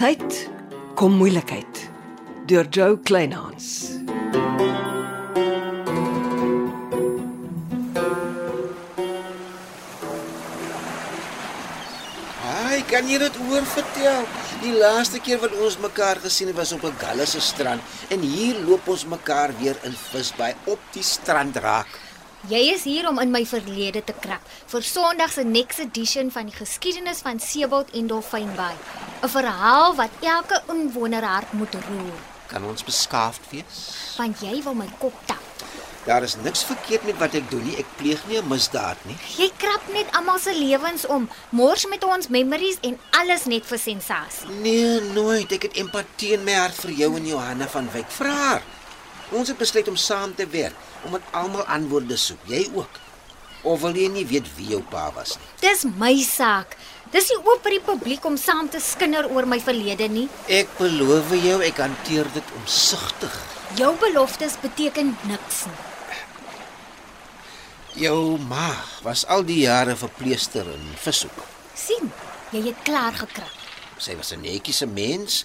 tyd kom moeilikheid deur Joe Kleinhans. Ai, kan jy dit oor vertel? Die laaste keer wat ons mekaar gesien het was op 'n galle se strand en hier loop ons mekaar weer in visbaai op die strand raak. Jy is hier om in my verlede te krap vir Sondag se next edition van die geskiedenis van Seebald en Dolfynbaai. 'n Verhaal wat elke inwoner hart moet roer, Kan ons beskaafd wees? want jy wil my kop tap. Daar is niks verkeerd met wat ek doen nie. Ek pleeg nie 'n misdaad nie. Jy krap net almal se lewens om, mors met ons memories en alles net vir sensasie. Nee, nooit. Ek het empatie in my hart vir jou en Johanna van Wyk. Vra haar. Ons het besluit om saam te werk, omdat almal antwoorde soek. Jy ook. Of wil jy nie weet wie jou pa was nie? Dis my saak. Dis nie oop vir die publiek om saam te skinder oor my verlede nie. Ek beloof jou, ek hanteer dit omsigtig. Jou beloftes beteken niks nie. Jou ma was al die jare verpleester en vishoek. sien, jy het klaar gekrap. Sy was 'n netjiese mens.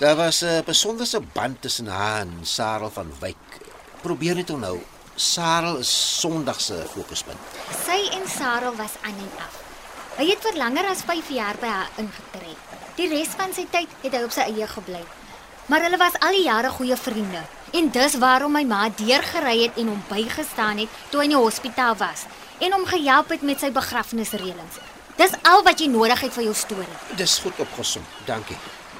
Daar was 'n besonderse band tussen haar en Sarel van Wyk. Probeer net onthou, Sarel is Sondag se fokuspunt. Sy en Sarah was aan en af. Hy het vir langer as 5 jaar by haar ingetrek. Die res van sy tyd het hy op sy eie gebly. Maar hulle was al die jare goeie vriende en dis waarom my ma deurgery het en hom bygestaan het toe hy in die hospitaal was en hom gehelp het met sy begrafnisreëlings. Dis al wat jy nodig het vir jou storie. Dis goed opgesom. Dankie.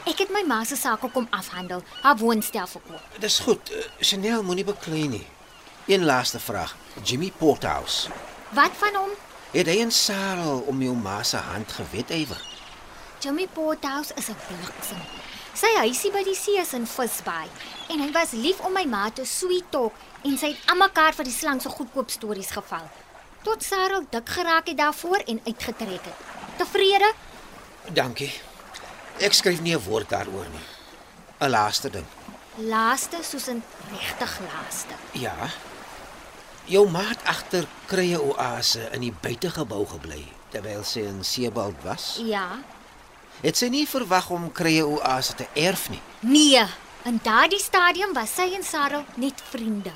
Ek het my ma se sake kom afhandel, haar woonstel verkoop. Dis goed. Eh, Chanel moenie beklei nie. Een laaste vraag. Jimmy Porthouse. Wat van hom? Het hy en Sarel om jou ma se hand gewet ywer? Jimmy Porthouse is 'n bliksem. Sy huisie by die see is in Visbaai en hy was lief om my ma te sweet talk en sy het almekaar vir die slang so goedkoop stories geval. Tot Sarah dik geraak het daarvoor en uitgetrek het. Tevrede? Dankie. Ek skryf nie 'n woord daaroor nie. 'n Laaste ding. Laaste soos 'n regtig laaste. Ja. Jou maat agter krye oase in die buitegebou gebly terwyl sy in Sebald was. Ja. Het sy nie verwag om krye oase te erf nie. Nee, in daardie stadium was sy en Sarah net vriende.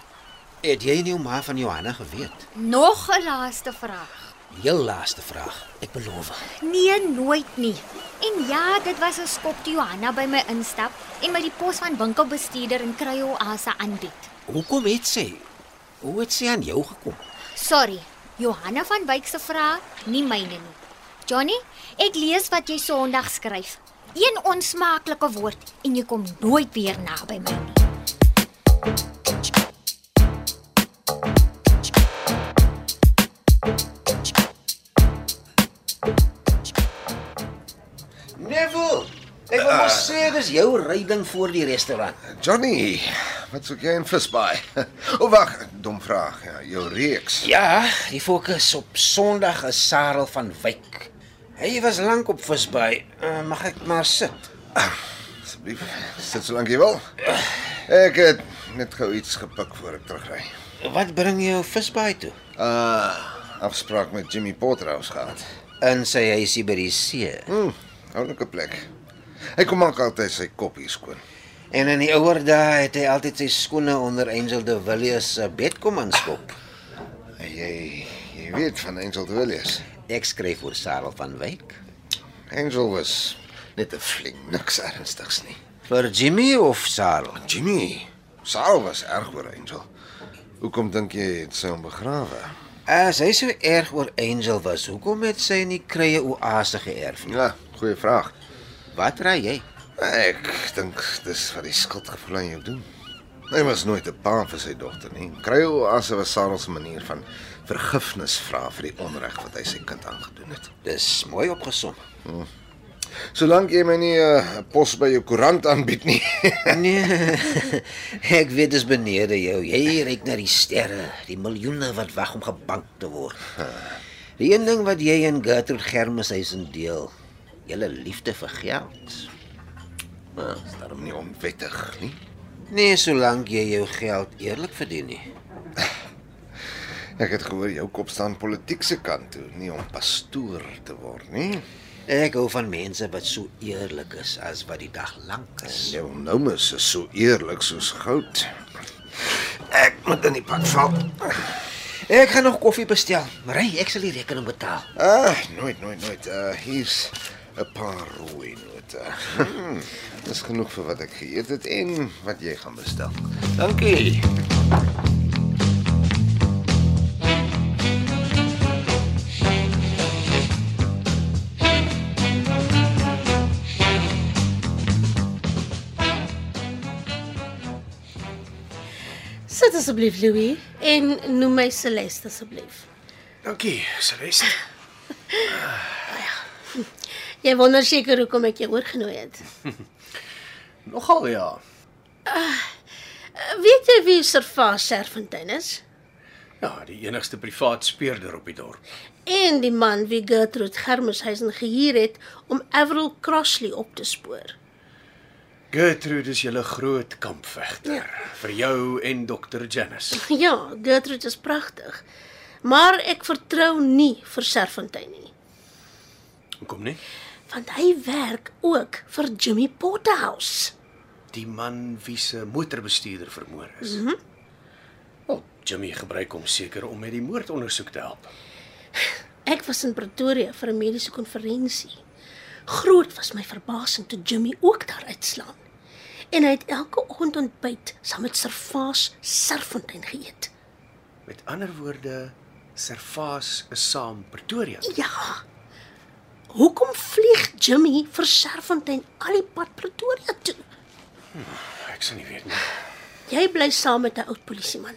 Het jy nie jou ma van Johanna geweet? Nog 'n laaste vraag. Heel laaste vraag. Ek beloof. Nee, nooit nie. En ja, dit was 'n skop toe Johanna by my instap en my die pos van winkelbestuurder in Kruio Asa aanbied. Hoekom het sy? Hoe het sy aan jou gekom? Sorry, Johanna van Wyk se vraag, nie myne nie. Johnny, ek lees wat jy Sondag skryf. Een onsmaaklike woord en jy kom nooit weer naby my nie. Neville, ek wil maar sê dis jou ryding voor die restaurant. Johnny, wat soek jy in visbaai? O oh, wag, dom vraag. Ja, jou reeks. Ja, die fokus op Sondag is Sarel van Wyk. Hy was lank op visbaai. Uh, mag ek maar sit? Asseblief, sit so lank jy wil. Ek het net gou iets gepik voor ek terugry. Wat bring jou visbaai toe? Uh, afspraak met Jimmy Potterhouse gehad. In sy huisie by die see. Hm, oulike plek. Hy kom maak altyd sy koppies skoon. En in die ouer dae het hy altyd sy skoene onder Angel de Villiers se bed kom aanskop. En Jy, jy weet van Angel de Villiers. Ek skryf oor Sarel van Wyk. Angel was net 'n fling, niks ernstigs nie. Vir Jimmy of Sarel? Jimmy, Saul was erg oor Angel. Hoekom dink jy het sy hom begrawe? As hy so erg oor Angel was, hoekom het sy nie krye oase geërf nie? Ja, goeie vraag. Wat raai jy? Ek dink dis wat die skuldgevoel aan jou doen. Hy was nooit 'n pa vir sy dogter nie. Kryo as 'n was Sarah se manier van vergifnis vra vir die onreg wat hy sy kind aangedoen het. Dis mooi opgesom. Solank jy my nie 'n uh, pos by jou koerant aanbied nie. Nee. ek weet dis benede jou. Jy reik na die sterre, die miljoene wat wag om gebank te word. Die een ding wat jy en Gertrude Germeshuisen deel, julle liefde vir geld. Maar is daarom nie onwettig nie. Nee, solank jy jou geld eerlik verdien nie. Ek het gehoor jou kop staan politiek se kant toe, nie om pastoor te word nie. Ek hou van mense wat so eerlik is as wat die dag lank is. Jou nomus is nou so eerlik soos goud. Ek moet in die pad val. Ek gaan nog koffie bestel. Ry, ek sal die rekening betaal. Ah, nooit, nooit, nooit. Uh hier's 'n paar rooi note. Hmm, Dis genoeg vir wat ek geëet het en wat jy gaan bestel. Dankie. Sit asseblief Louis en noem my Celeste asseblief. Dankie, Celeste. Jy wonder seker hoekom ek jou oorgenooi het. Nogal ja. Weet jy wie Sir Vaas Serfontein is? Ja, die enigste privaat speurder op die dorp. En die man wie Gertrude Germushuizen gehuur het om Avril Crossley op te spoor. Gertrude is julle groot kampvegter vir jou en dokter Janice. Ja, Gertrude is pragtig. Maar ek vertrou nie vir Serfontein nie, Kom nie. want hy werk ook vir Jimmy Potterhouse. Die man wie se motorbestuurder vermoor is. Mhm. Mm Wel, Jimmy gebruik hom seker om met die moordondersoek te help. Ek was in Pretoria vir 'n mediese konferensie. Groot was my verbasing toe Jimmy ook daar uitslaan. En hy het elke oggend ontbyt saam met Servaas Serfontein geëet. Met ander woorde, Servaas is saam Pretoria. Ja. Hoekom vlieg Jimmy vir Serfontein al die pad Pretoria toe? Ek sal nie weet nie. Jy bly saam met 'n oud polisieman.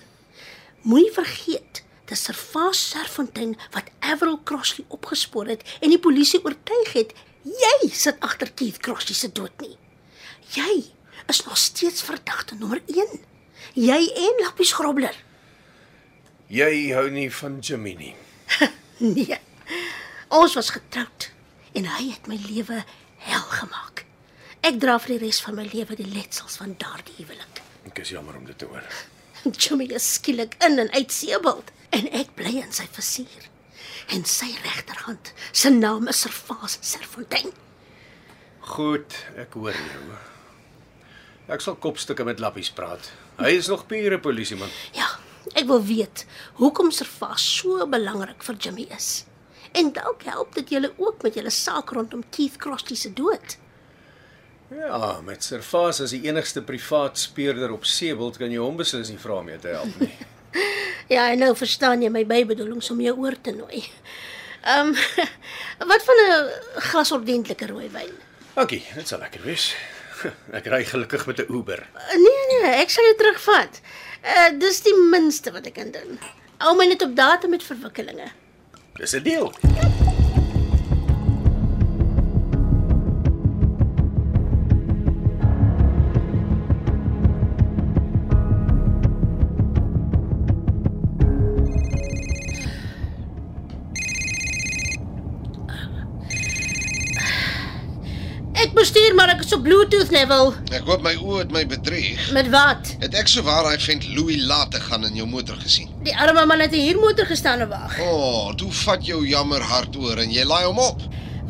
Moenie vergeet, dis Servaas Serfontein wat Avril Crossley opgespoor het en die polisie oortuig het jy sit agter Keith Crossley se dood nie. Jy is nog steeds verdagte nommer 1. Jy en Lappies Grobler. Jy hou nie van Jimmy nie. Nee. Ons was getroud en hy het my lewe hel gemaak. Ek dra vir die res van my lewe die letsels van daardie huwelik. Ek is jammer om dit te hoor. Jimmy is skielik in en uit seebald en ek bly in sy versier. En sy regterhand, se naam is Servaas Serfontein. Goed, ek hoor jou. Ek sal kopstukke met Lappies praat. Hy is nog pure polisieman. Ja, ek wil weet hoekom Servaas so belangrik vir Jimmy is. En dalk help dit julle ook met julle saak rondom Keith Crossley se dood. Ja, met Servaas as die enigste privaat speurder op Seebald kan jy hom beslis nie vra om jou te help nie. Ja, en nou verstaan jy my bybedoelings om jou oor te nooi. Ehm um, wat van 'n glas ordentlike rooiwyn? Dankie, dit sal lekker wees. Ek ry gelukkig met 'n Uber. Nee nee, ek sal jou terugvat. Uh dis die minste wat ek kan doen. Hou my net op datum met verwikkelinge. Dis 'n deal. Ek bestuur maar ek is op Bluetooth level. Ek hoop my oë het my bedrieg. Met wat? Het ek souwaar daai vent Louis laat te gaan in jou motor gesien? Die arme man het 'n huurmotor gestaan en wag. O, oh, toe vat jou jammer hart oor en jy laai hom op.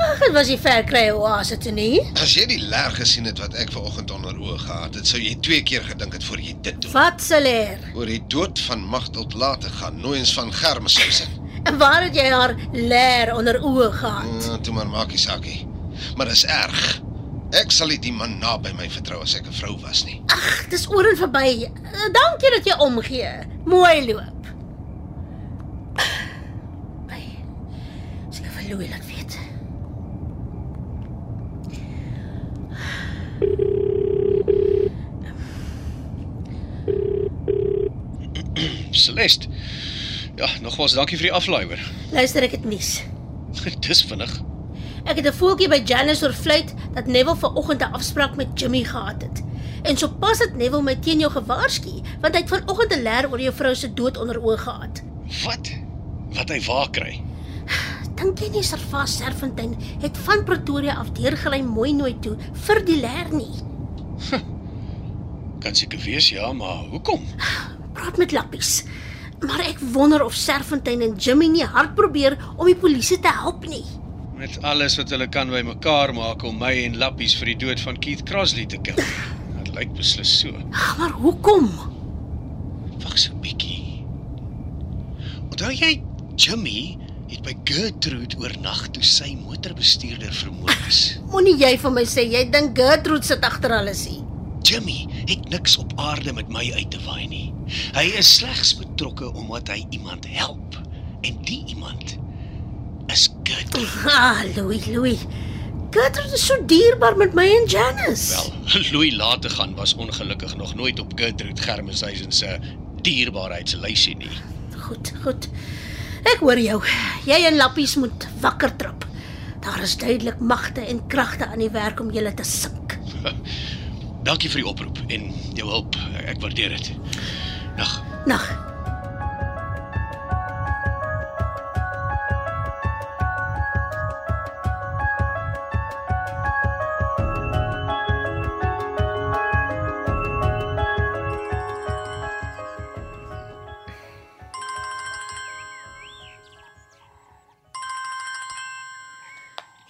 Ag, dit was die verkry oase toe nie. As jy die ler gesien het wat ek vanoggend onder oë gehad het, sou jy twee keer gedink het voor jy dit doen. Wat se leer? Oor die dood van Magdalt laat te gaan, nooiens van Germeshuisen. En waar het jy haar leer onder oë gehad? Uh, toe maar maakie sakkie. Maar dis erg. Ek sal nie die man naby my vertrou as ek 'n vrou was nie. Ag, dis oor en verby. Eh, Dankie dat jy omgee. Mooi loop. By. Seker vir Louis laat weet. Celeste. Ja, nogmaals dankie vir die aflaaier. Luister ek het nuus. Dis vinnig. Ek het 'n voeltjie by Janice oor fluit dat Neville vanoggend 'n afspraak met Jimmy gehad het. En sopas het Neville my teen jou gewaarsku, want hy het vanoggend 'n leer oor jou vrou se dood onder oë gehad. Wat? Wat hy waar kry? Dink jy nie Servas Serfontein het van Pretoria af deurgelei mooi nooit toe vir die leer nie? Kan seker wees, ja, maar hoekom? Praat met Lappies. Maar ek wonder of Serfontein en Jimmy nie hard probeer om die polisie te help nie. Met alles wat hulle kan bymekaar maak om my en Lappies vir die dood van Keith Crossley te kill. Dit lyk beslis so. Ag, Ah, maar hoekom? Wag so 'n bietjie. Onthou jy Jimmy het by Gertrude oornag toe sy motorbestuurder vermoor is. Moenie jy vir my sê jy dink Gertrude sit agter alles hier. Jimmy het niks op aarde met my uit te waai nie. Hy is slegs betrokke omdat hy iemand help en die iemand is Gertrude. Ah, Louis, Louis. Gertrude is so dierbaar met my en Janice. Wel, Louis laat te gaan was ongelukkig nog nooit op Gertrude Germeshuizen se dierbaarheidslysie nie. Goed, goed. Ek hoor jou. Jy en Lappies moet wakker trap. Daar is duidelik magte en kragte aan die werk om julle te sink. Dankie vir die oproep en jou hulp. Ek waardeer dit. Nag. Nag.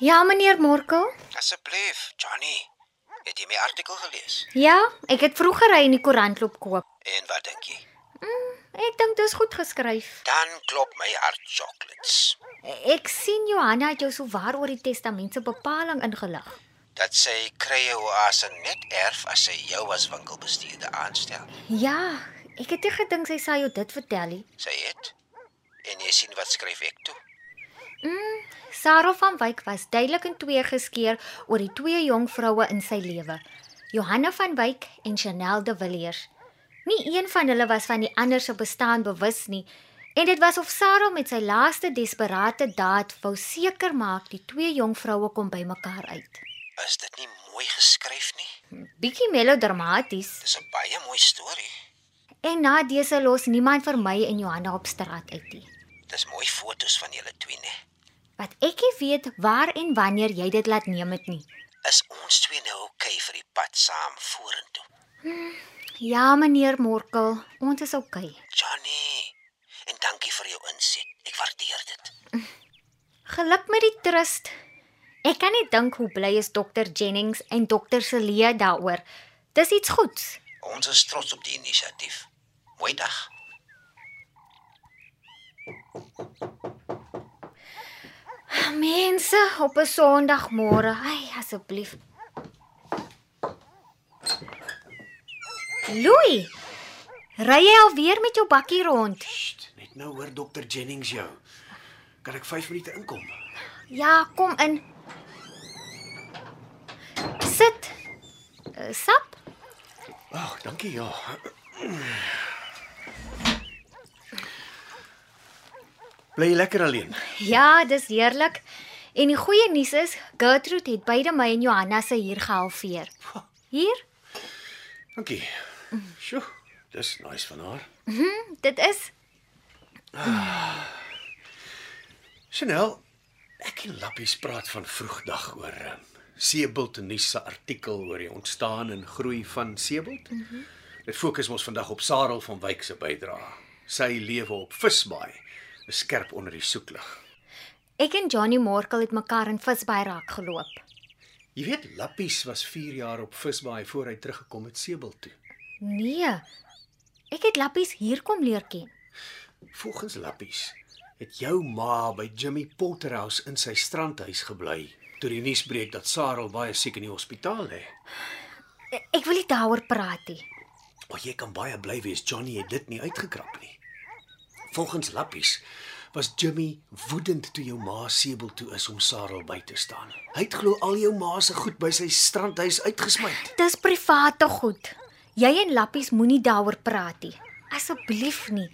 Ja, meneer Morkel? Asseblief, Johnny. Het jy my artikel gelees? Ja, ek het vroeger hy in die koerant loop koop. En wat dink jy? Ek dink dit is goed geskryf. Dan klop my hart chocolates. Ek sien Johanna het jou souwaar oor die testament se bepaling ingelig. Dat sy krye oase net erf as sy jou as winkelbestuurder aanstel. Ja, ek het nie gedink sy sal jou dit vertel nie. Sy het. En jy sien wat skryf ek toe? Sarah van Wyk was duidelik in twee geskeur oor die twee jong vroue in sy lewe, Johanna van Wyk en Chanel de Villiers. Nie een van hulle was van die ander se bestaan bewus nie, en dit was of Sarah met sy laaste desperaatte daad wou seker maak die twee jong vroue kom by mekaar uit. Is dit nie mooi geskryf nie? Bietjie melodramaties. Dis 'n baie mooi storie. En na dese los niemand vir my en Johanna op straat uit nie. Dis mooi fotos van julle twee, né? Wat ek nie weet waar en wanneer jy dit laat neem het nie. Is ons twee nou oukei okay vir die pad saam vorentoe? Ja, meneer Morkel, ons is oukei. Okay. Johnny, en dankie vir jou inset. Ek waardeer dit. Geluk met die trust. Ek kan nie dink hoe bly is dokter Jennings en dokter Celia daaroor. Dis iets goeds. Ons is trots op die inisiatief. Mooi dag. Mense op 'n Sondagmôre. Ai, asseblief. Louis, ry jy alweer met jou bakkie rond? Sst, net nou hoor dokter Jennings jou. Kan ek 5 minute inkom? Ja, kom in. Sit. Eh, Sap? Ag, dankie ja. Bly jy lekker alleen? Ja, dis heerlik. En die goeie nuus is, Gertrude het beide my en Johanna se hier gehalveer. Hier? Dankie. Sjoe, dis nice van haar. Dit is Chanel, ek en Lappies praat van vroegdag oor um, Seebult en nuus se artikel oor die ontstaan en groei van Seebult. Mm -hmm. Dit fokus ons vandag op Sarel van Wyk se bydrae. Sy lewe op Visbaai is skerp onder die soeklig. ek en Johnny Morkel het mekaar in Visbaai raak geloop. Jy weet Lappies was 4 jaar op Visbaai voor hy teruggekom het Seebult toe. Nee. Ek het Lappies hier kom leer ken. Volgens Lappies het jou ma by Jimmy Potterhouse in sy strandhuis gebly toe die nuus breek dat Sarel baie siek in die hospitaal lê. E- Ek wil nie daaroor praat nie. Maar jy kan baie bly wees Johnny het dit nie uitgekrap nie. Volgens Lappies was Jimmy woedend toe jou ma Sebel toe is om Sarel by te staan. Hy het glo al jou ma se goed by sy strandhuis uitgesmyt. Dis private goed. Jy en Lappies moenie daaroor praat nie. Asseblief nie.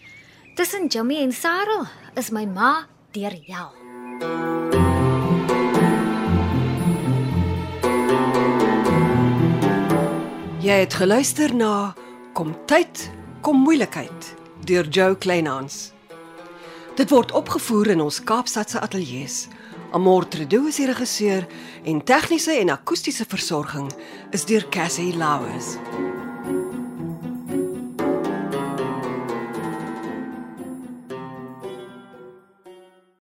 Tussen Jimmy en Sarah is my ma deur hel. Jy het geluister na Kom tyd, kom moeilikheid deur Jo Kleinhans. Dit word opgevoer in ons Kaapstadse ateljee se. Amortredo is die regisseur en tegniese en akoestiese versorging is deur Cassie Lauers.